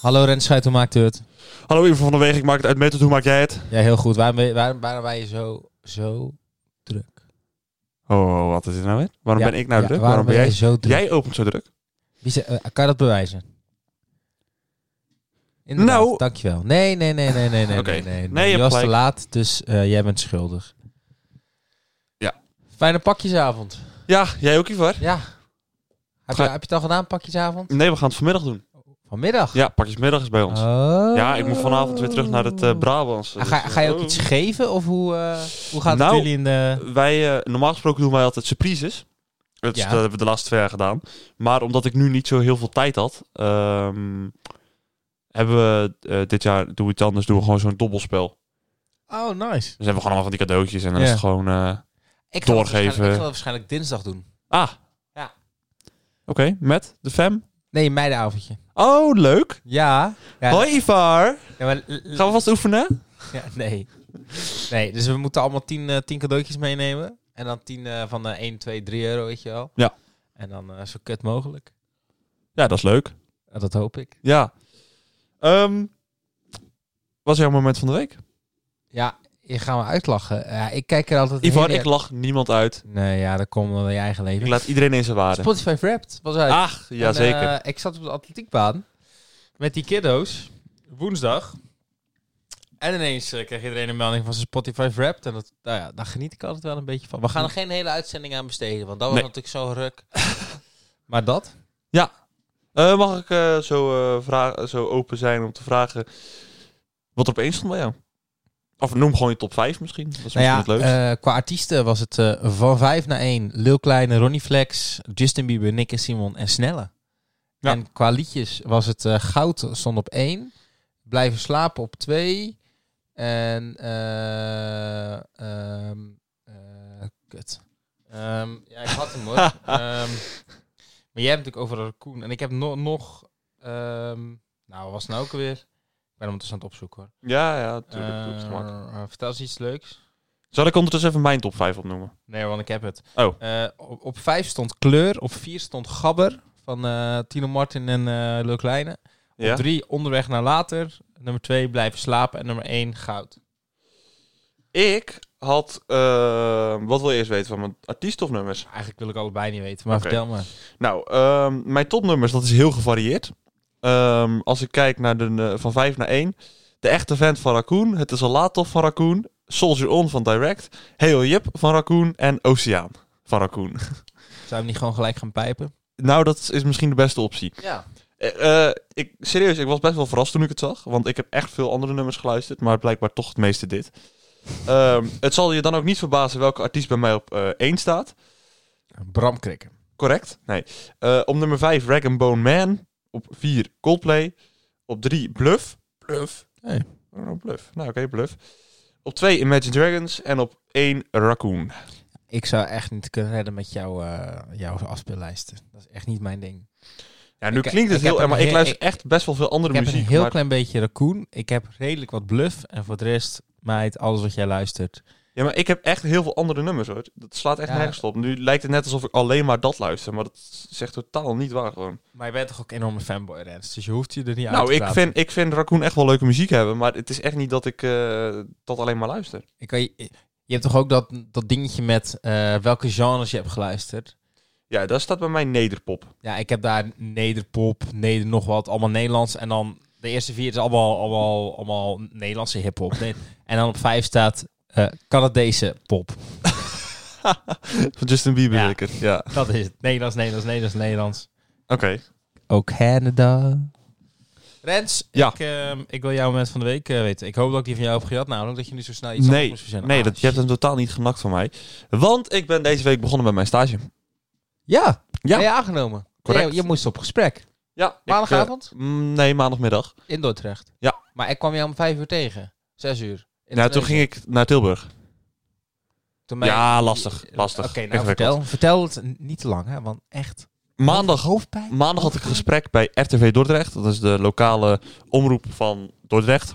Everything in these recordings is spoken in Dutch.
Hallo Rens Schuit, hoe maakt u het? Hallo Ivo van der Weg, ik maak het uit Mettert. Hoe maak jij het? Ja, heel goed. Waarom, ben je- waarom, waarom ben je zo, zo druk? Oh, wat is dit nou weer? Waarom Ja, ben ik nou ja, druk? Waarom ben jij... zo druk? Jij opent zo druk. Wie ze- eh, kan je dat bewijzen? Inderdaad, Nou- Dankjewel. Nee, nee, nee, nee, nee, nee. Oké. nee, nee, nee. Nee, je je hebt was te gelijk. laat, dus eh, jij bent schuldig. Ja. Fijne pakjesavond. Ja, jij ook Ivar? Ja. Heb je, Ga- heb je het al gedaan, pakjesavond? Nee, we gaan het vanmiddag doen. Vanmiddag? Ja, pakjesmiddag is bij ons. Oh. Ja, ik moet vanavond weer terug naar het eh Brabants. Ah, Ga, Dus, ga je ook oh. iets geven of hoe, eh, hoe gaat Nou, het jullie in de... Wij, eh, normaal gesproken doen wij altijd surprises. Dat, is- Ja. dat hebben we de laatste twee jaar gedaan. Maar omdat ik nu niet zo heel veel tijd had, ehm, hebben we eh, dit jaar, doen we iets anders, doen we gewoon zo'n dobbelspel. Oh, nice. Dus hebben we gewoon allemaal van die cadeautjes en dan Ja. is het gewoon... eh, Ik ga dat Doorgeven. waarschijnlijk- Ik zal dat waarschijnlijk dinsdag doen. Ah. Ja. Oké, met de fam. Nee, meidenavondje. Oh, leuk. Ja. Ja, Hoi Ivar. ja, maar l- l- Gaan we vast oefenen? ja, nee. Nee, dus we moeten allemaal 10 eh, 10 cadeautjes meenemen. En dan 10 eh, van de 1, 2, 3 euro, weet je wel. Ja. En dan eh, zo kut mogelijk. Ja, dat is leuk. Eh, dat hoop ik. Ja. Ehm, wat is jouw moment van de week? Ja, je gaat me uitlachen. Ja, ik kijk er altijd Ivar, heen- ik lach niemand uit. Nee, ja, dat komt door je eigen Ik leven. laat iedereen in zijn waarde. Spotify Wrapped was uit. Ach, En, jazeker. eh, ik zat op de atletiekbaan met die kiddo's, woensdag. En ineens eh, kreeg iedereen een melding van zijn Spotify Wrapped. En dat, nou ja, daar geniet ik altijd wel een beetje van. We gaan er geen hele uitzending aan besteden, want dat was Nee. natuurlijk zo'n ruk. maar dat? Eh, mag ik eh, zo, eh, vra- zo open zijn om te vragen wat er opeens stond bij jou? Of noem gewoon je top 5 misschien. Dat is misschien het leukst. eh, qua artiesten was het eh, van 5 naar 1. Lil Kleine, Ronnie Flex, Justin Bieber, Nick en Simon en Snelle. Ja. En qua liedjes was het eh, Goud stond op 1. Blijven slapen op 2. En eh, ehm, eh, kut. Ehm, ja, ik had hem hoor. Ehm, maar jij hebt natuurlijk over een raccoon. En ik heb no- nog... ehm, nou, wat was het nou ook alweer? Ik ben hem ondertussen aan het opzoeken hoor. ja, ja, tuurlijk. doe het Eh, gemakkelijk. eh, vertel eens iets leuks. Zal ik ondertussen even mijn top 5 opnoemen? Nee, want ik heb het. Oh. Eh, op, op vijf stond Kleur. Op vier stond Gabber van eh, Tino Martin en eh Lil Kleine. Ja. Op drie Onderweg naar Later. Nummer twee Blijven Slapen. En nummer één Goud. Ik had. eh, wat wil je eerst weten van mijn artiest of nummers? Eigenlijk wil ik allebei niet weten, maar Oké. vertel me. Nou, ehm, mijn topnummers, dat is heel gevarieerd. Ehm, als ik kijk naar de, eh, van 5 naar 1. De echte vent van Raccoon. Het is al laat of van Raccoon. Soldier On van Direct. Heel Jip van Raccoon. En Oceaan van Raccoon. Zou je hem niet gewoon gelijk gaan pijpen? nou, dat is misschien de beste optie. Ja. Eh, eh, ik, serieus, ik was best wel verrast toen ik het zag. Want ik heb echt veel andere nummers geluisterd. Maar blijkbaar toch het meeste dit. Ehm, het zal je dan ook niet verbazen welke artiest bij mij op eh 1 staat. Bram Krikken. Correct? Nee. Eh, op nummer 5 Rag and Bone Man. Op 4 Coldplay. Op 3 Bluff. Bluff? Hey. Oh, bluff. Nou oké, Bluff. Op 2 Imagine Dragons. En op 1 Raccoon. Ik zou echt niet kunnen redden met jouw, eh, jouw afspeellijsten. Dat is echt niet mijn ding. Ja, nu Ik- klinkt het ik heel heb erg, maar een ik luister he- echt best wel veel andere ik heb muziek. een heel maar- klein beetje Raccoon. Ik heb redelijk wat Bluff. En voor de rest, meid, alles wat jij luistert. Ja, maar ik heb echt heel veel andere nummers hoor. Dat slaat echt Ja. nergens op. Nu lijkt het net alsof ik alleen maar dat luister. Maar dat is echt totaal niet waar gewoon. Maar je bent toch ook een enorme fanboy, Rens? Dus je hoeft je er niet uit nou, te ik praten. vind, ik vind Raccoon echt wel leuke muziek hebben. Maar het is echt niet dat ik eh, dat alleen maar luister. Ik kan je, je hebt toch ook dat, dat dingetje met eh, welke genres je hebt geluisterd? Ja, daar staat bij mij nederpop. Ja, ik heb daar nederpop, neder nog wat, allemaal Nederlands. En dan de eerste vier is allemaal, allemaal, allemaal Nederlandse hiphop. Nee. en dan op vijf staat eh, Canadese pop. Van Justin Bieber Ja. zeker. Ja. Dat is het. Nederlands, Nederlands, Nederlands, Nederlands. Oké. Ook Canada. Rens, Ja. ik, ehm, ik wil jouw moment van de week eh, weten. Ik hoop dat ik die van jou heb gehad, namelijk dat je nu zo snel iets anders Nee, moest verzinnen. nee Ah, dat, je hebt hem totaal niet genakt van mij. Want ik ben deze week begonnen met mijn stage. Ja, Ja. ben je aangenomen? Correct. Nee, je moest op gesprek. Ja. Maandagavond? eh, mm, nee, maandagmiddag. In Dordrecht? Ja. Maar ik kwam je om vijf uur tegen. Zes uur. In Nou, Tunesië. toen ging ik naar Tilburg. Toen ben je- Ja, lastig, Eh, lastig. Oké, nou Ingewikkeld. vertel. Vertel het n- niet te lang, hè. Want echt. Maandag, Hoofdpijn. maandag had ik een gesprek bij RTV Dordrecht. Dat is de lokale omroep van Dordrecht.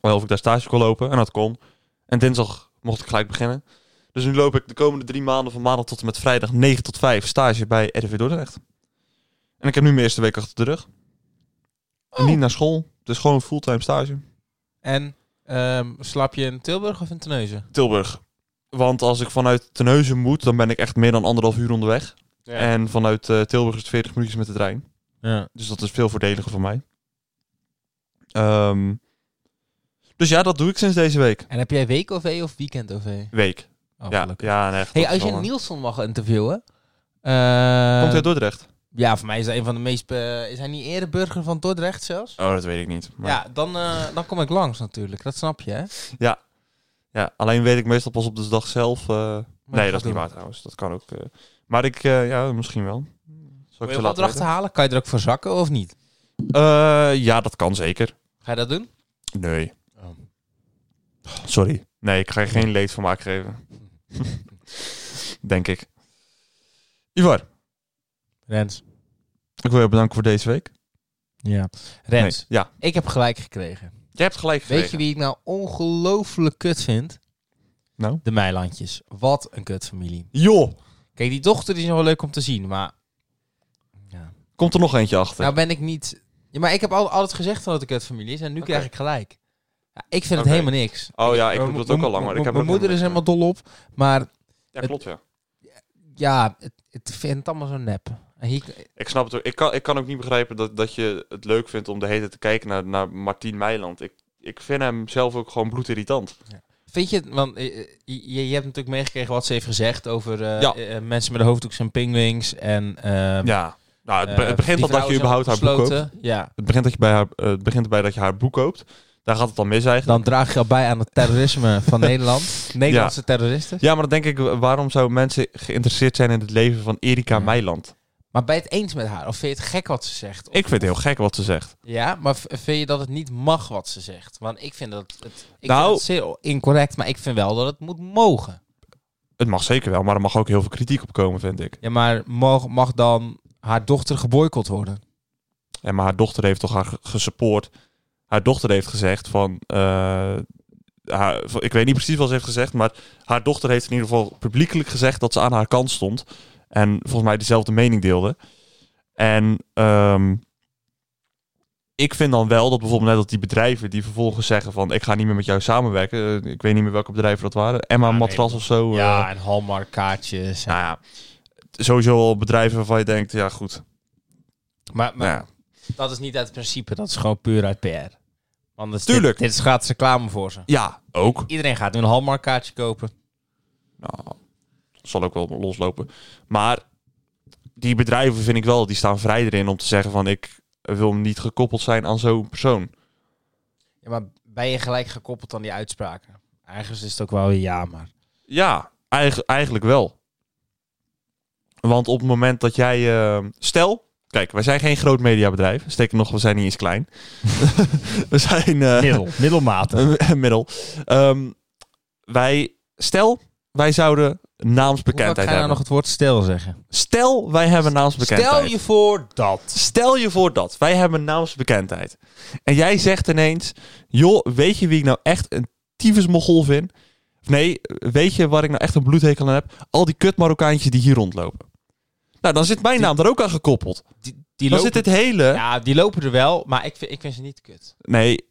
Of ik daar stage kon lopen. En dat kon. En dinsdag mocht ik gelijk beginnen. Dus nu loop ik de komende drie maanden van maandag tot en met vrijdag 9 tot 5 stage bij RTV Dordrecht. En ik heb nu mijn eerste week achter de rug. En niet naar school. Dus gewoon fulltime stage. En ehm, slaap je in Tilburg of in Tenneuzen? Tilburg. Want als ik vanuit Tenneuzen moet, dan ben ik echt meer dan anderhalf uur onderweg. En vanuit eh, Tilburg is het 40 minuutjes met de trein. Ja. Dus dat is veel voordeliger voor mij. Ehm, dus ja, dat doe ik sinds deze week. En heb jij week OV of weekend OV? Week. Oh, ja, gelukkig. ja en echt. Hey, dat is als je wel een- Nielsen mag interviewen. eh, Komt hij uit Dordrecht? Ja, voor mij is hij een van de meest. eh, is hij niet eerder burger van Dordrecht zelfs? Oh, dat weet ik niet. Maar ja. Ja, dan, eh, dan kom ik langs natuurlijk. Dat snap je, hè? alleen weet ik meestal pas op de dag zelf. eh, Maar nee, dat is niet waar trouwens. Dat kan ook. eh, maar ik, eh, ja, misschien wel. Zal Wil ik je je een laten opdracht weten? halen? Kan je er ook voor zakken of niet? Eh, ja, dat kan zeker. Ga je dat doen? Nee. Oh. Sorry. Nee, ik ga je geen leed van maken geven. Denk ik. Ivar, Rens. ik wil je bedanken voor deze week. Ja. Rens, Nee, ja, ik heb gelijk gekregen. je hebt gelijk gekregen. Weet je wie ik nou ongelooflijk kut vind? Nou? De Meilandjes. Wat een kutfamilie. Joh, Kijk, die dochter die is nog wel leuk om te zien, maar... Ja. komt er nog eentje achter. Nou ben ik niet... Ja, maar ik heb al, altijd gezegd dat het een kutfamilie is en nu Oké. krijg ik gelijk. Ja, ik vind Oké. het helemaal niks. oh ja, ik Mijn- doe dat ook al lang, maar ik mijn- heb er Mijn ook moeder is helemaal dol op, maar Ja, klopt ja. ja, het, het vindt het allemaal zo nep. En hier- Ik snap het ook. Ik kan, ik kan ook niet begrijpen dat, dat je het leuk vindt om de hele tijd te kijken naar, naar Martien Meiland. Ik, ik vind hem zelf ook gewoon bloedirritant. Vind je het, want eh, eh, je, je hebt natuurlijk meegekregen wat ze heeft gezegd over eh, Ja. eh, mensen met de hoofddoeks en pingwings en... eh, Ja. Nou, het, be- eh, het begint die al dat je vrouwen überhaupt haar zijn boek koopt. opgesloten. Ja. Het begint, dat je bij haar, eh, het begint erbij dat je haar boek koopt. Daar gaat het dan mis eigenlijk. Dan draag je al bij aan het terrorisme van Nederland. Nederlandse terroristen. Ja, maar dan denk ik, wa- waarom zouden mensen geïnteresseerd zijn in het leven van Erika Ja. Meiland? Maar ben je het eens met haar? Of vind je het gek wat ze zegt? Of- Ik vind het heel gek wat ze zegt. Ja, maar v- vind je dat het niet mag wat ze zegt? Want ik vind dat het, ik Nou- vind het zeer incorrect, maar ik vind wel dat het moet mogen. Het mag zeker wel, maar er mag ook heel veel kritiek op komen, vind ik. Ja, maar mag, mag dan haar dochter geboycott worden? En maar haar dochter heeft toch haar ge- gesupport. Haar dochter heeft gezegd van, eh, haar, van- Ik weet niet precies wat ze heeft gezegd, maar haar dochter heeft in ieder geval publiekelijk gezegd dat ze aan haar kant stond. En volgens mij dezelfde mening deelde. En ehm, ik vind dan wel dat bijvoorbeeld net dat die bedrijven die vervolgens zeggen van... ik ga niet meer met jou samenwerken. eh, ik weet niet meer welke bedrijven dat waren. Emma Ja, nee, Matras of zo. eh, Ja, en Hallmark kaartjes. nou ja, sowieso al bedrijven waarvan je denkt, ja goed. Maar, maar nou ja. dat is niet uit principe, dat is gewoon puur uit PR. Want dit- Tuurlijk. Dit, is gratis reclame voor ze. ja, ook. Iedereen gaat nu een Hallmark kaartje kopen. Nou, dat zal ook wel loslopen. Maar die bedrijven vind ik wel, die staan vrij erin om te zeggen van ik wil niet gekoppeld zijn aan zo'n persoon. Ja, maar ben je gelijk gekoppeld aan die uitspraken? Eigenlijk is het ook wel weer ja, maar... Ja, eigen- eigenlijk wel. Want op het moment dat jij, eh, stel, kijk, wij zijn geen groot mediabedrijf. Steken nog, we zijn niet eens klein. we zijn eh, middelmatig. een middel. Ehm, wij, stel, wij zouden Hoeveel naamsbekendheid ga je nou hebben. nog het woord stil zeggen? Stel, wij hebben naamsbekendheid. Stel je voor dat. Stel je voor dat wij hebben naamsbekendheid. En jij zegt ineens: joh, weet je wie ik nou echt een tyfusmogol vind? Of nee, weet je waar ik nou echt een bloedhekel aan heb? Al die kut Marokkaantjes die hier rondlopen. Nou, dan zit mijn Die- naam daar ook aan gekoppeld. Die, die Dan lopen, zit het hele. ja, die lopen er wel, maar ik vind, ik vind ze niet kut. Nee,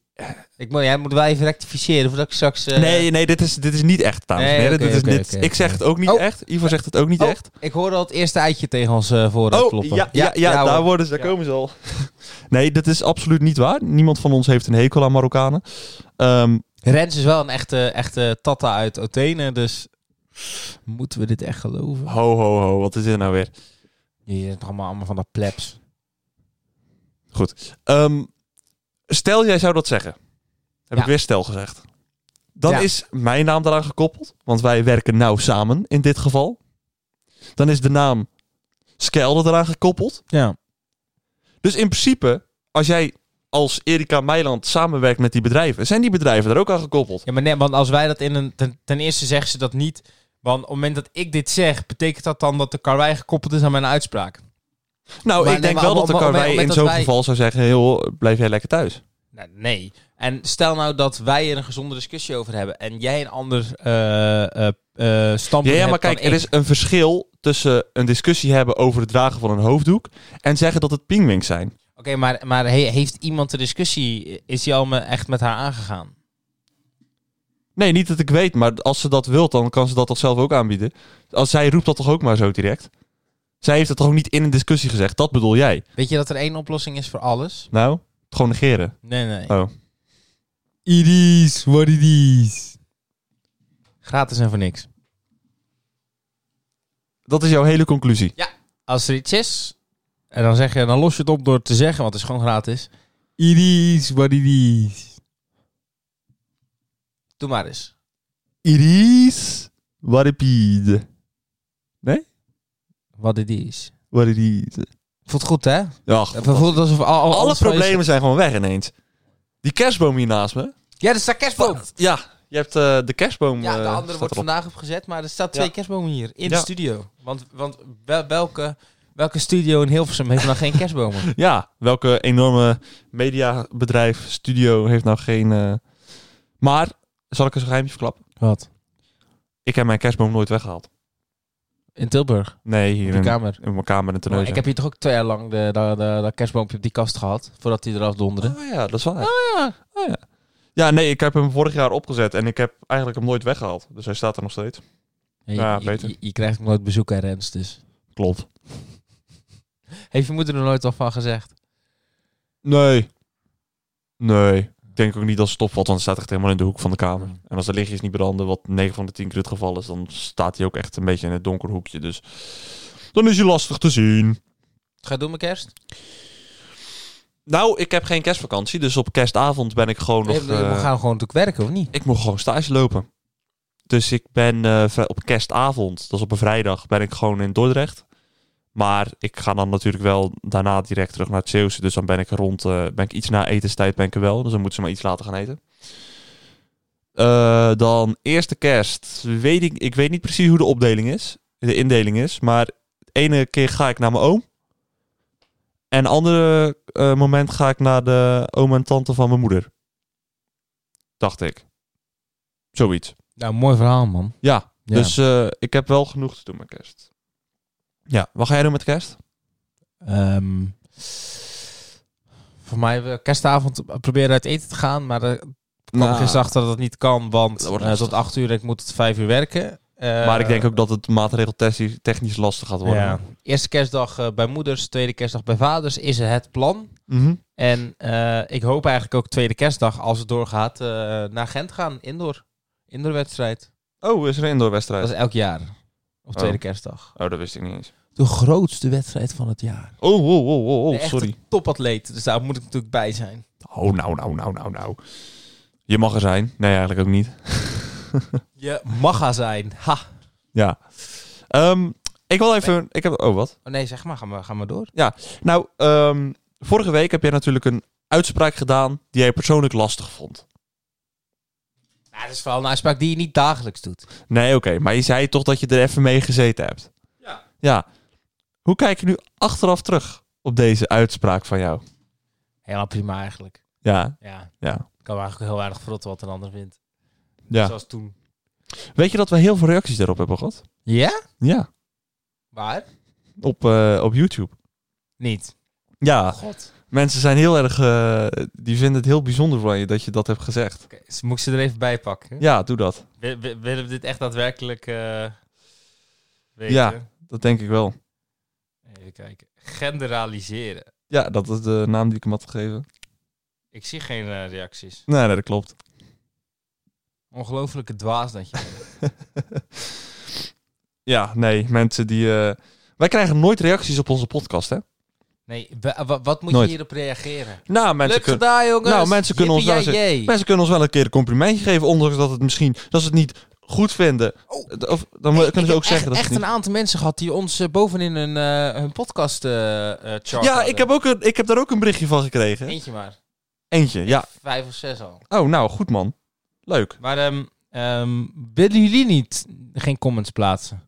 Ik moet, jij moet wel even rectificeren voordat ik straks... eh, nee, nee, dit is, dit is niet echt, dames en Nee, heren. oké, dit is oké, niet, oké, ik zeg oké. het ook niet Oh. echt. Ivo zegt het ook niet Oh, echt. Ik hoorde al het eerste eitje tegen ons eh vooruit Oh, kloppen. ja, ja, ja, hoor. daar, worden ze, daar Ja. komen ze al. Nee, dat is absoluut niet waar. Niemand van ons heeft een hekel aan Marokkanen. Ehm, Rens is wel een echte, echte tata uit Athene, dus moeten we dit echt geloven? ho, ho, ho, wat is dit nou weer? Je bent allemaal, allemaal van de plebs. Ehm, stel, jij zou dat zeggen. Ja. Heb ik weer stel gezegd. Dan Ja. is mijn naam daaraan gekoppeld. Want wij werken nauw samen in dit geval. Dan is de naam Skelder eraan gekoppeld. Ja. Dus in principe, als jij als Erika Meiland samenwerkt met die bedrijven, zijn die bedrijven er ook aan gekoppeld. ja, maar nee, want als wij dat in een... Ten, ten eerste zeggen ze dat niet, want op het moment dat ik dit zeg, betekent dat dan dat de karwei gekoppeld is aan mijn uitspraak? Nou, Maar ik nee, denk maar wel op- dat de op- op- op- karwei op- op- in dat zo'n wij- geval zou zeggen, heel, blijf jij lekker thuis. Nou, nee. En stel nou dat wij er een gezonde discussie over hebben en jij een ander eh, eh, eh, Ja, standpunt ja, maar hebt kijk, dan er ik. is een verschil tussen een discussie hebben over het dragen van een hoofddoek en zeggen dat het pingwings zijn. maar, maar he- heeft iemand de discussie, is die al me- echt met haar aangegaan? Nee, niet dat ik weet, maar als ze dat wilt, dan kan ze dat toch zelf ook aanbieden. Als zij roept dat toch ook maar zo direct. Zij heeft het toch ook niet in een discussie gezegd. Dat bedoel jij. Weet je dat er één oplossing is voor alles? Nou, gewoon negeren. Nee, nee. Oh. It is what it is. Gratis en voor niks. Dat is jouw hele conclusie. Als er iets is, en dan, zeg je, dan los je het op door te zeggen, want het is gewoon gratis. It is what it is. Doe maar eens. Iris, what it is. Wat it is. What it is. Voelt goed, hè? Ja, Het voelt alsof al, al- alle alles van je- problemen zijn gewoon weg ineens. Die kerstboom hier naast me. Ja, er staat kerstboom. Wat? Ja, je hebt eh, de kerstboom. Ja, de eh, andere staat wordt erop. vandaag opgezet, maar er staat twee Ja. kerstbomen hier in de Ja. studio. Want, want wel- welke, welke studio in Hilversum heeft nou geen kerstbomen? Ja, welke enorme mediabedrijf, studio heeft nou geen... eh, Maar, zal ik eens een geheimje verklappen? Wat? Ik heb mijn kerstboom nooit weggehaald. In Tilburg, Nee, hier in in, de kamer. in mijn kamer in Maar Terneuzen. ik heb hier toch ook twee jaar lang de, de, de- dat kerstboompje op die kast gehad, voordat die eraf donderde. Oh ja, dat is waar. ja. Oh ja. Ja, nee, ik heb hem vorig jaar opgezet en ik heb eigenlijk hem nooit weggehaald. Dus hij staat er nog steeds. Je, Ja, je, beter. je, je krijgt hem nooit bezoek hè, Rens, dus. Klopt. Heeft je moeder er nooit al van gezegd? Nee. Nee. Ik denk ook niet dat ze het opvalt, want hij staat echt helemaal in de hoek van de kamer. Mm. En als de lichtjes niet branden, wat 9 van de 10 keer het geval is, dan staat hij ook echt een beetje in het donker hoekje. Dus dan is hij lastig te zien. Ga je doen met kerst? Nou, ik heb geen kerstvakantie, dus op kerstavond ben ik gewoon Nee, nog... we eh, gaan gewoon natuurlijk werken, of niet? ik mocht gewoon stage lopen. Dus ik ben eh, vri- op kerstavond, dat is op een vrijdag, ben ik gewoon in Dordrecht. Maar ik ga dan natuurlijk wel daarna direct terug naar het Zeeuwse. Dus dan ben ik rond, eh, ben ik iets na etenstijd ben ik er wel. Dus dan moeten ze maar iets laten gaan eten. Eh, dan eerste kerst. Weet ik, ik weet niet precies hoe de opdeling is. De indeling is. Maar de ene keer ga ik naar mijn oom. En de andere eh, moment ga ik naar de oom en tante van mijn moeder. Dacht ik. Zoiets. Nou, mooi verhaal, man. Ja, Ja. dus eh, ik heb wel genoeg te doen met kerst. Ja, wat ga jij doen met kerst? Ehm voor mij eh, kerstavond proberen uit eten te gaan, maar eh, Ik kwam gisteren achter dat dat niet kan, want Nou. Dat wordt eh, lastig. tot 8 uur, ik moet tot 5 uur werken. Eh, maar ik denk ook dat het maatregeltechnisch technisch lastig gaat worden. ja. Eerste kerstdag eh, bij moeders, tweede kerstdag bij vaders is het plan. Mhm. En eh, ik hoop eigenlijk ook tweede kerstdag, als het doorgaat, eh, naar Gent gaan. Indoor. Indoorwedstrijd. Oh, is er een indoorwedstrijd? Dat is elk jaar. Op Oh. tweede kerstdag. Oh, dat wist ik niet eens. De grootste wedstrijd van het jaar. Oh, oh, oh, oh, oh sorry. Topatleet, dus daar moet ik natuurlijk bij zijn. Oh, nou, nou, nou, nou, nou. Je mag er zijn. Nee, eigenlijk ook niet. Je mag er zijn. Ha. Ja. Ehm, ik wil even... Ik heb... Oh, wat? Oh nee, zeg maar, ga maar, ga maar door. Nou, ehm, vorige week heb jij natuurlijk een uitspraak gedaan die jij persoonlijk lastig vond. Nou, dat is vooral een uitspraak die je niet dagelijks doet. Nee, oké. maar je zei toch dat je er even mee gezeten hebt. Ja. Ja. Hoe kijk je nu achteraf terug op deze uitspraak van jou? Helemaal prima eigenlijk. Ja. Ja. Ja. Ik kan me eigenlijk heel weinig verrotten wat een ander vindt. ja. Zoals toen. Weet je dat we heel veel reacties daarop hebben gehad? Ja? Ja. Waar? Op, eh, op YouTube. Niet. Ja. God. Mensen zijn heel erg... eh, die vinden het heel bijzonder van je dat je dat hebt gezegd. Oké, dus moet ik ze er even bij pakken? Ja, doe dat. Wil- wil- Willen we dit echt daadwerkelijk eh, weten? Ja. Dat denk ik wel. Even kijken. Generaliseren. Ja, dat is de naam die ik hem had gegeven. Ik zie geen eh, reacties. Nee, nee, dat klopt. Ongelooflijke dwaas dat je bent. ja, nee. Mensen die... eh, Wij krijgen nooit reacties op onze podcast, hè? Nee, wa- wa- wat moet Nooit. je hierop reageren? Nou, mensen Leuk kunnen... gedaan, jongens. Nou, mensen kunnen ons Jippie, wel jij, jij. Mensen kunnen ons wel een keer een complimentje geven, ondanks dat het misschien dat ze het niet goed vinden. Oh. D- Of dan Hey, kunnen ik ze heb ook zeggen echt, dat echt ze het een aantal mensen gehad die ons eh, bovenin hun, eh, hun podcast eh eh, chart niet. Ja, hadden. ik heb, ook een, ik heb daar ook een berichtje van gekregen. Eentje maar. Eentje, ja. Vijf of zes al. Oh, nou, goed man. Leuk. Maar ehm, ehm, willen jullie niet geen comments plaatsen?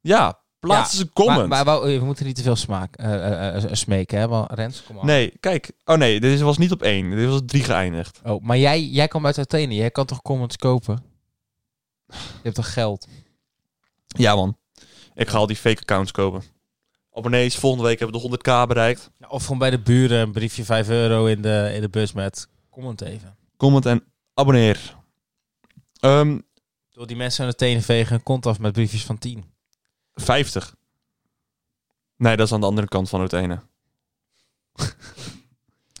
Ja, plaats eens een comment. Maar, maar wou- eh, we moeten niet te veel smaak, eh, eh, eh, smeken, hè? Want Rens, kom op. Nee, kijk. Oh nee, dit is- was niet op één. Dit was op drie geëindigd. Oh, maar jij, jij kwam uit Athene. Jij kan toch comments kopen? Je hebt toch geld? Ja man. Ik ga al die fake accounts kopen. abonnees. Volgende week hebben we de 100k bereikt. Ja, Nou, Of gewoon bij de buren een briefje 5 euro in de, in de bus met comment even. Comment en abonneer. Ehm, Door die mensen aan de tenen vegen, kont af met briefjes van 10. 50. Nee, dat is aan de andere kant van het ene.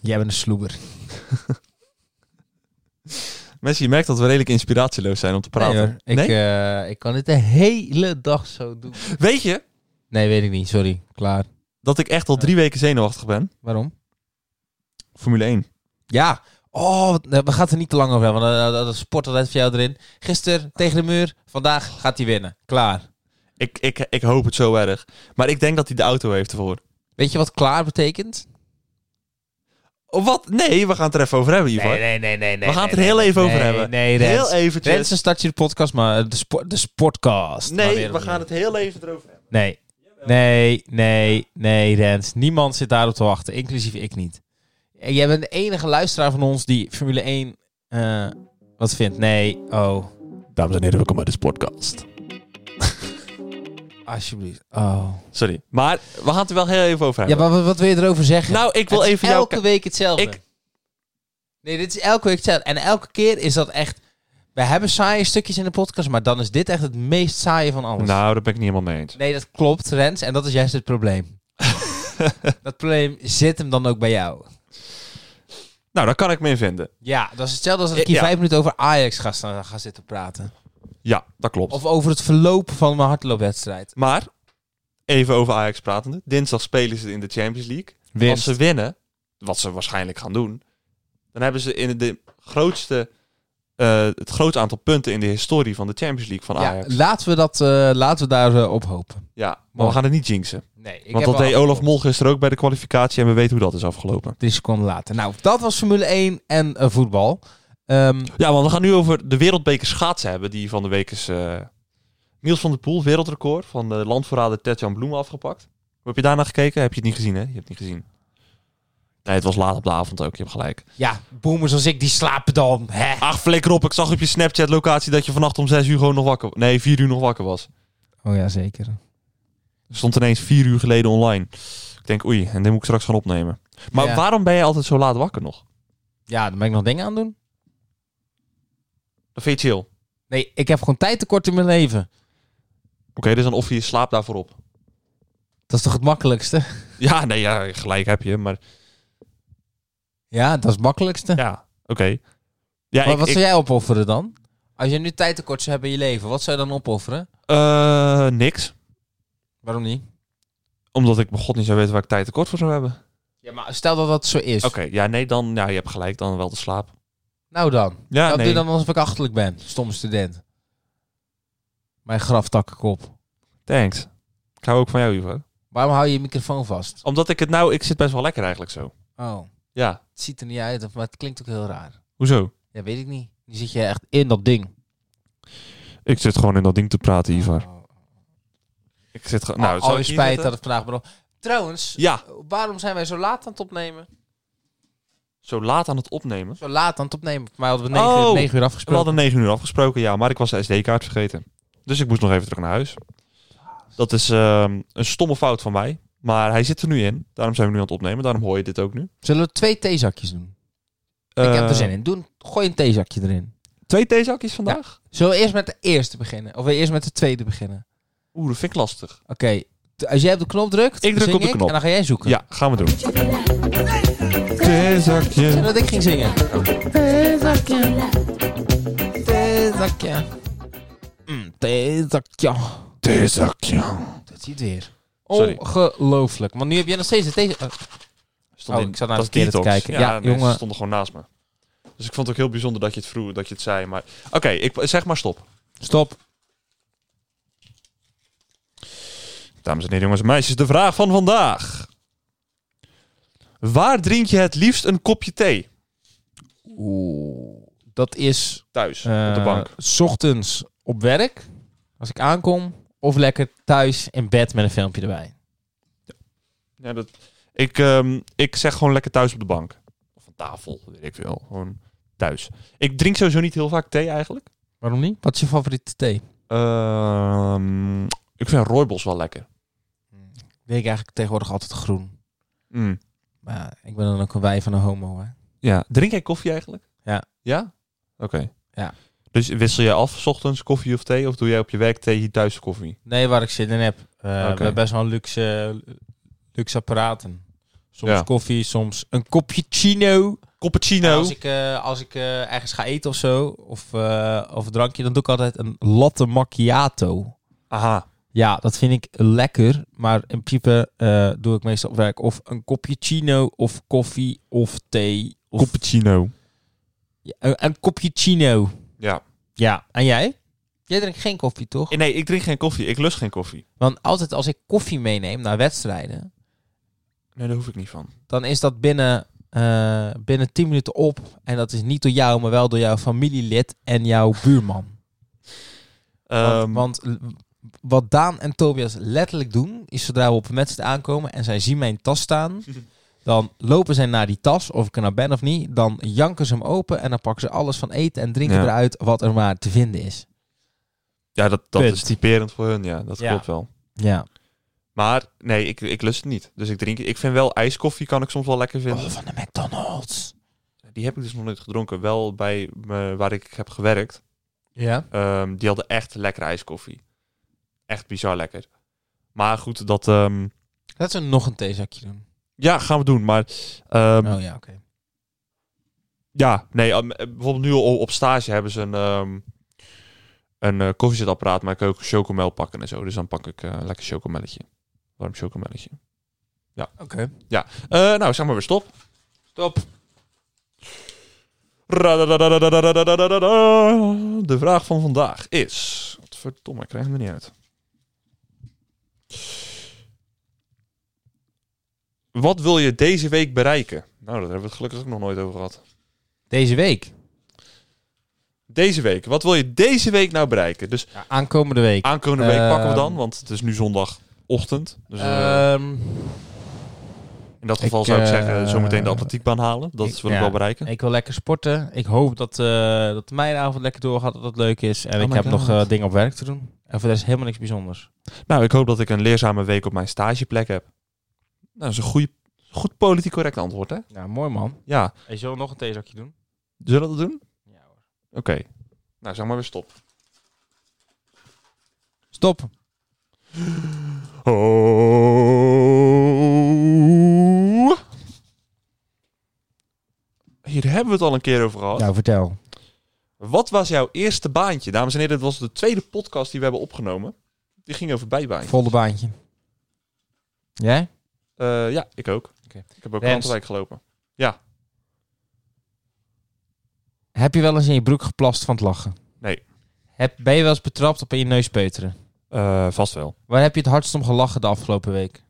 Jij bent een sloeber. Mensen, je merkt dat we redelijk inspiratieloos zijn om te praten. Nee hoor, ik, Nee? eh, ik kan dit de hele dag zo doen. Weet je Nee, weet ik niet. Sorry. Klaar. dat ik echt al drie weken zenuwachtig ben? Waarom? Formule 1. Ja. Oh, wat- nee, we gaan het er niet te lang over hebben. Want eh, dat dat sport altijd voor jou erin. Gisteren tegen de muur. Vandaag gaat hij winnen. Klaar. Ik, ik, ik hoop het zo erg. Maar ik denk dat hij de auto heeft ervoor. Weet je wat klaar betekent? Of Oh, wat? Nee, we gaan het er even over hebben, Ivar. nee, nee, nee. we gaan het er heel even over hebben. Nee, nee. heel Rens. eventjes. Rens, dan start je de podcast, maar eh, de, sport, de sportcast. Maar nee, weer we gaan opnieuw. het heel even erover hebben. Nee. Nee, nee, nee, Rens. Niemand zit daarop te wachten, inclusief ik niet. En Jij bent de enige luisteraar van ons die Formule 1 eh, wat vindt. Nee, oh, Dames en heren, welkom bij de podcast. alsjeblieft. Oh. Sorry. Maar we gaan het er wel heel even over Ja, hebben. maar wat, wat wil je erover zeggen? nou, ik wil Het is even jou... elke week hetzelfde. Ik- Nee, dit is elke week hetzelfde. En elke keer is dat echt... We hebben saaie stukjes in de podcast, maar dan is dit echt het meest saaie van alles. Nou, daar ben ik niet helemaal mee eens. Nee, dat klopt, Rens. En dat is juist het probleem. dat probleem zit hem dan ook bij jou. Nou, daar kan ik me in vinden. Ja, dat is hetzelfde als dat ik Ja. hier vijf minuten over Ajax ga, staan- ga zitten praten. Ja, dat klopt. Of over het verloop van mijn hardloopwedstrijd. Maar, even over Ajax pratende. Dinsdag spelen ze in de Champions League. Als ze winnen, wat ze waarschijnlijk gaan doen, dan hebben ze in de grootste, eh, het grootste aantal punten in de historie van de Champions League van Ja, Ajax. Ja, laten we, dat, eh, laten we daar eh, op hopen. maar we gaan het niet jinxen. Nee, ik want heb dat deed al- Olaf Mol gisteren ook bij de kwalificatie en we weten hoe dat is afgelopen. Drie seconden later. Nou, dat was Formule 1 en eh, voetbal. Ehm, Ja, want we gaan nu over de wereldbeker schaatsen hebben die van de week is... eh, Niels van der Poel, wereldrecord van de landverrader Tetjan Bloem afgepakt. Hoe heb je daarna gekeken? Heb je het niet gezien, hè? Je hebt het niet gezien. Nee, het was laat op de avond ook. Je hebt gelijk. ja, boomers als ik, die slapen dan. Hè? Ach, flikker op. Ik zag op je Snapchat-locatie dat je vannacht om 6 uur gewoon nog wakker... Nee, 4 uur nog wakker was. Oh ja, zeker. Stond ineens 4 uur geleden online. Ik denk, oei, en dit moet ik straks gaan opnemen. Maar Ja. waarom ben je altijd zo laat wakker nog? Ja, dan ben ik nog dingen aan het doen. Dat vind je chill. Oké, Nee, ik heb gewoon tijd tekort in mijn leven. dus dan offer je slaap daarvoor op. Dat is toch het makkelijkste? Ja, nee, ja, gelijk heb je, maar... Ja, dat is het makkelijkste. Ja, oké. Ja, maar ik- wat ik- zou jij opofferen dan? Als je nu tijd tekort zou hebben in je leven, wat zou je dan opofferen? eh, niks. Waarom niet? Omdat ik bij god niet zou weten waar ik tijd tekort voor zou hebben. Ja, maar stel dat dat zo is. Oké, ja, nee, dan... Ja, je hebt gelijk, dan wel de slaap. Nou dan. Ja, dat nee. doe dan alsof ik achterlijk ben. Stomme student. Mijn graftakkenkop. Thanks. Ik hou ook van jou, Ivo. Waarom hou je je microfoon vast? Omdat ik het nou... Ik zit best wel lekker eigenlijk zo. Oh, Ja. het ziet er niet uit, of- maar het klinkt ook heel raar. Hoezo? Ja, weet ik niet. Nu zit je echt in dat ding. Ik zit gewoon in dat ding te praten, Ivar. Oh, Ik zit gewoon. nou, Nou, zou alweer ik hier spijt zitten? dat het vandaag begon. Trouwens, Ja, waarom zijn wij zo laat aan het opnemen? zo laat aan het opnemen. Zo laat aan het opnemen. Maar hadden we negen, Oh. uur, negen uur We afgesproken. hadden 9 uur afgesproken, ja, maar ik was de SD-kaart vergeten. Dus ik moest nog even terug naar huis. Dat is ehm, een stomme fout van mij. Maar hij zit er nu in. Daarom zijn we nu aan het opnemen. Daarom hoor je dit ook nu. Zullen we twee theezakjes doen? Ik heb er Eh, zin in. Doe, een- gooi een theezakje erin. Twee theezakjes vandaag? Zullen we eerst met de eerste beginnen? Of wil je eerst met de tweede beginnen? Oeh, dat vind ik lastig. Oké, t- als jij op de knop drukt, Ik druk zing op de knop. En dan ga jij zoeken. Ja, gaan we doen. Theezakje. Zodat ik ging zingen. Theezakje. Theezakje. Mm, theezakje. Theezakje. Dat ziet weer. Sorry. Ongelooflijk. Want nu heb jij nog steeds de thee... eh, Stond Oh, in- ik zat naar dat de verkeerde te detox. kijken. Ja, nee, jongen. Ze stonden gewoon naast me. Dus ik vond het ook heel bijzonder dat je het vroeg, dat je het zei. Maar oké, ik zeg maar stop. Stop. Dames en heren, jongens en meisjes, de vraag van vandaag. Waar drink je het liefst een kopje thee? Oeh. Dat is... Thuis, eh, op de bank. S ochtends op werk. Als ik aankom. Of lekker thuis in bed met een filmpje erbij. Ja, dat... ik, ehm, ik zeg gewoon lekker thuis op de bank. Of aan tafel, weet ik veel. Gewoon thuis. Ik drink sowieso niet heel vaak thee eigenlijk. Waarom niet? Wat is je favoriete thee? Ehm, ik vind rooibos wel lekker. Weet ik eigenlijk tegenwoordig altijd groen. Mm. Maar ja, ik ben dan ook een wij van een homo, hè. Ja. Drink jij koffie eigenlijk? Ja. Ja? Oké. Ja. Dus wissel jij af 's ochtends koffie of thee? Of doe jij op je werk thee, hier thuis koffie? Nee, waar ik zin in heb. Eh, We hebben best wel luxe, luxe apparaten. Soms Ja. koffie, soms een kopje chino. Cappuccino. Als ik, eh, als ik eh, ergens ga eten of zo, of, eh, of een drankje, dan doe ik altijd een latte macchiato. Aha. Ja, dat vind ik lekker. Maar in principe eh, doe ik meestal op werk of een kopje chino, of koffie, of thee. Of Cappuccino. Ja, een, een kopje chino. Ja. Ja, en jij? Jij drinkt geen koffie, toch? Eh, Nee, ik drink geen koffie. Ik lust geen koffie. Want altijd als ik koffie meeneem naar wedstrijden, Nee, daar hoef ik niet van. dan is dat binnen, eh, binnen 10 minuten op. En dat is niet door jou, maar wel door jouw familielid en jouw buurman. Ehm, want, want l- wat Daan en Tobias letterlijk doen, is zodra we op een wedstrijd aankomen en zij zien mijn tas staan, dan lopen zij naar die tas, of ik er nou ben of niet, dan janken ze hem open en dan pakken ze alles van eten en drinken Ja. eruit wat er maar te vinden is. ja, dat, dat punt. is typerend voor hun. Ja, dat Ja. klopt wel. Ja. Maar nee, ik, ik lust het niet. Dus ik drink. Ik vind wel ijskoffie kan ik soms wel lekker vinden. Oh, van de McDonald's. Die heb ik dus nog nooit gedronken. Wel bij me, waar ik heb gewerkt. Ja. Ehm, die hadden echt lekkere ijskoffie. Echt bizar lekker. Maar goed, dat ehm, Laten we nog een theezakje doen. ja, gaan we doen. Maar ehm, oh ja, oké. ja, nee, ehm, eh, bijvoorbeeld nu al op stage hebben ze een, ehm een eh, koffiezetapparaat. Maar ik kan ook chocomel pakken en zo. Dus dan pak ik eh, lekker chocomelletje. Warm chocomelletje. Oké. Eh, nou, zeg maar weer stop. Stop. De vraag van vandaag is... Wat verdomme, ik krijg hem er niet uit. Wat wil je deze week bereiken? Nou, daar hebben we het gelukkig ook nog nooit over gehad. Deze week. Deze week. Wat wil je deze week nou bereiken? Dus aankomende week. aankomende week Ehm. pakken we dan, want het is nu zondagochtend. Dus eh, Ehm, in dat geval ik, zou ik eh, zeggen, zometeen de atletiekbaan halen. Dat ik- is wat ik ja. wil bereiken. ik wil lekker sporten. Ik hoop dat, eh, dat mijn avond lekker doorgaat, dat het leuk is. En Oh ik my heb God. nog eh, dingen op werk te doen. En voor de rest helemaal niks bijzonders. Nou, ik hoop dat ik een leerzame week op mijn stageplek heb. Nou, dat is een goede, goed politiek correct antwoord, hè? Nou, mooi man. Ja. Hey, zullen we nog een theezakje doen? Zullen we dat doen? Ja hoor. Oké. Nou, zeg maar weer stop. Stop. Oh. Hier hebben we het al een keer over gehad. Nou, vertel. Wat was jouw eerste baantje? Dames en heren, dit was de tweede podcast die we hebben opgenomen. Die ging over bijbaantjes. Volle baantje. Jij? Eh, ja, ik ook. Oké. Ik heb ook Rens. Krantenwijk gelopen. Ja, Heb je wel eens in je broek geplast van het lachen? Nee. Heb, ben je wel eens betrapt op in je neus peuteren? Eh, vast wel. Waar heb je het hardst om gelachen de afgelopen week?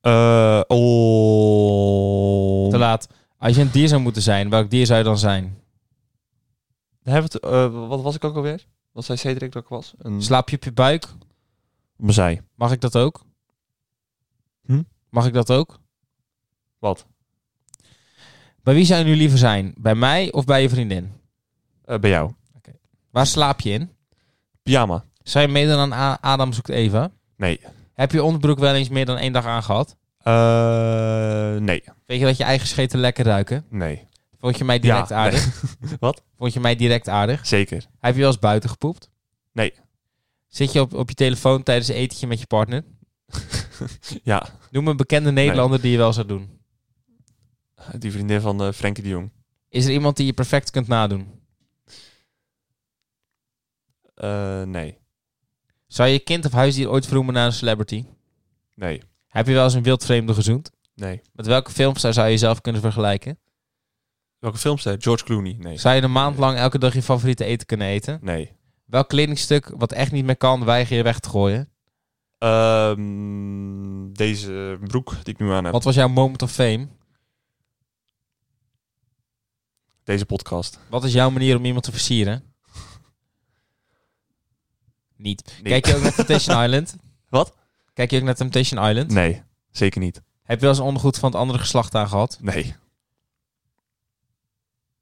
Eh, oh. Te laat. Als je een dier zou moeten zijn, welk dier zou je dan zijn? Daar hebben we het, eh, wat was ik ook alweer? Wat zei Cedric dat ik was? Een Slaap je op je buik? Mazij. Mag ik dat ook? Hm? Mag ik dat ook? Wat? Bij wie zou je nu liever zijn? Bij mij of bij je vriendin? Eh, bij jou. Waar slaap je in? Pyjama. Zou je meedoen aan A- Adam zoekt Eva? Nee. Heb je onderbroek wel eens meer dan één dag aangehad? Eh, nee. Weet je dat je eigen scheten lekker ruiken? Nee. Vond je mij direct Ja, aardig? Wat? Vond je mij direct aardig? Zeker. Heb je wel eens buiten gepoept? Nee. Zit je op, op je telefoon tijdens een etentje met je partner? Ja. Noem een bekende Nederlander die je wel zou doen. Die vriendin van eh, Frenkie de Jong. Is er iemand die je perfect kunt nadoen? Eh, nee. Zou je kind of huisdier ooit verroemen naar een celebrity? Nee. Heb je wel eens een wildvreemde gezoend? Nee. Met welke filmster zou je jezelf kunnen vergelijken? Welke filmster? George Clooney. Nee. Zou je een maand lang elke dag je favoriete eten kunnen eten? Nee. Welk kledingstuk wat echt niet meer kan, weiger je weg te gooien? Ehm, deze broek die ik nu aan heb. Wat was jouw moment of fame? Deze podcast. Wat is jouw manier om iemand te versieren? Niet. Nee. Kijk je ook naar Temptation Island? Wat? Kijk je ook naar Temptation Island? Nee. Zeker niet. Heb je wel eens ondergoed van het andere geslacht aangehad? Nee.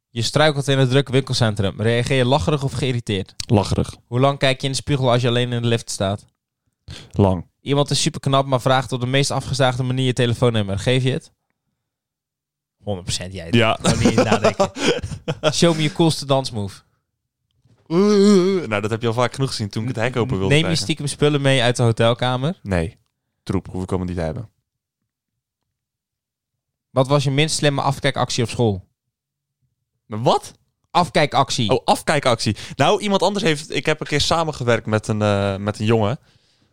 Je struikelt in het drukke winkelcentrum. Reageer je lacherig of geïrriteerd? Lacherig. Hoe lang kijk je in de spiegel als je alleen in de lift staat? Lang. Iemand is super knap, maar vraagt op de meest afgezaagde manier je telefoonnummer. Geef je het? 100% jij. Ja. Gewoon niet eens nadenken. Show me je coolste dansmove. nou, dat heb je al vaak genoeg gezien toen ik het hek open wilde Neem je krijgen. stiekem spullen mee uit de hotelkamer. Nee, troep, hoef ik allemaal niet te hebben. Wat was je minst slimme afkijkactie op school? Maar wat? Afkijkactie. Oh, afkijkactie. Nou, iemand anders heeft... Ik heb een keer samengewerkt met een, eh, met een jongen.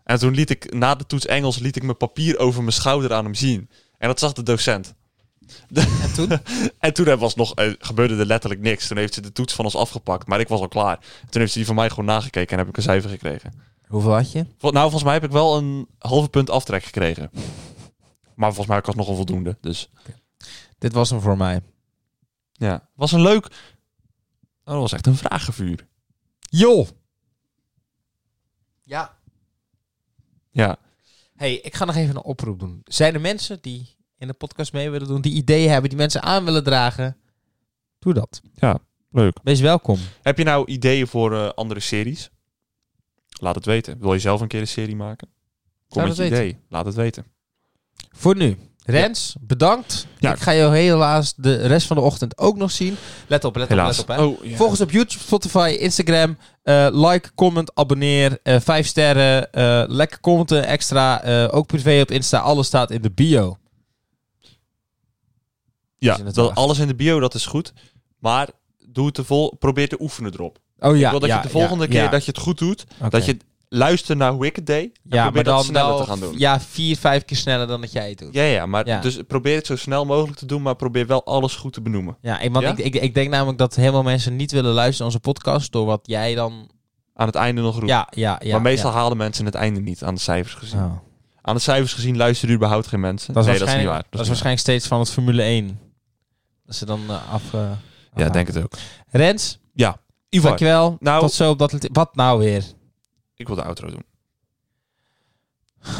En toen liet ik, na de toets Engels, liet ik mijn papier over mijn schouder aan hem zien. En dat zag de docent. En toen? En toen was nog, eh, gebeurde er letterlijk niks. Toen heeft ze de toets van ons afgepakt, maar ik was al klaar. Toen heeft ze die van mij gewoon nagekeken en heb ik een cijfer gekregen. Hoeveel had je? Vol- Nou, volgens mij heb ik wel een halve punt aftrek gekregen. Maar volgens mij had ik het nogal voldoende, dus... Dit was hem voor mij. Ja, was een leuk... Oh, dat was echt een vragenvuur. Joh! Ja. Ja. Hey, ik ga nog even een oproep doen. Zijn er mensen die in de podcast mee willen doen, die ideeën hebben, die mensen aan willen dragen? Doe dat. Ja, leuk. Wees welkom. Heb je nou ideeën voor eh, andere series? Laat het weten. Wil je zelf een keer een serie maken? Kom Laat met je het weten. idee. Laat het weten. Voor nu. Rens, bedankt. Ja. Ik ga jou helaas de rest van de ochtend ook nog zien. Let op, let Helaas. op, let op. Hè. Oh, ja. Volg ons op YouTube, Spotify, Instagram. Eh, like, comment, abonneer. eh vijf sterren. eh, lekker commenten extra. eh, ook privé op Insta. Alles staat in de bio. Ja, Is in het dat waard. alles in de bio, dat is goed. Maar doe het te vol, probeer te oefenen erop. Oh ja. ik wil dat ja, je de volgende ja, keer ja. dat je het goed doet, Oké. dat je luistert naar hoe ik het deed. En Ja, maar probeer dan dat sneller wel te gaan doen. Ja, vier, vijf keer sneller dan dat jij het doet. Ja, ja, maar Ja. dus probeer het zo snel mogelijk te doen, maar probeer wel alles goed te benoemen. Ja, ik, want Ja? Ik, ik, ik denk namelijk dat helemaal mensen niet willen luisteren naar onze podcast door wat jij dan... Aan het einde nog roepen. Ja, ja, ja. maar meestal halen mensen het einde niet aan de cijfers gezien. ja. Oh. Aan de cijfers gezien luisteren überhaupt geen mensen. Dat is, nee, dat is niet waarschijnlijk, waar. dat is waarschijnlijk steeds van het Formule 1. Dat ze dan eh, af... eh, Ja, afhaken. denk het ook. Rens, Ivar, dankjewel. Nou- Tot zo op dat... Wat nou weer? ik wil de outro doen. Ivar,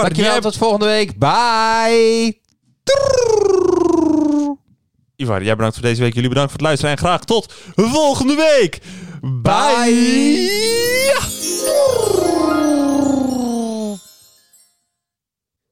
Dankjewel, jij hebt- tot volgende week. Bye! Ivar, jij bedankt voor deze week. Jullie bedankt voor het luisteren. En graag tot volgende week. Bye. Bye. Ja.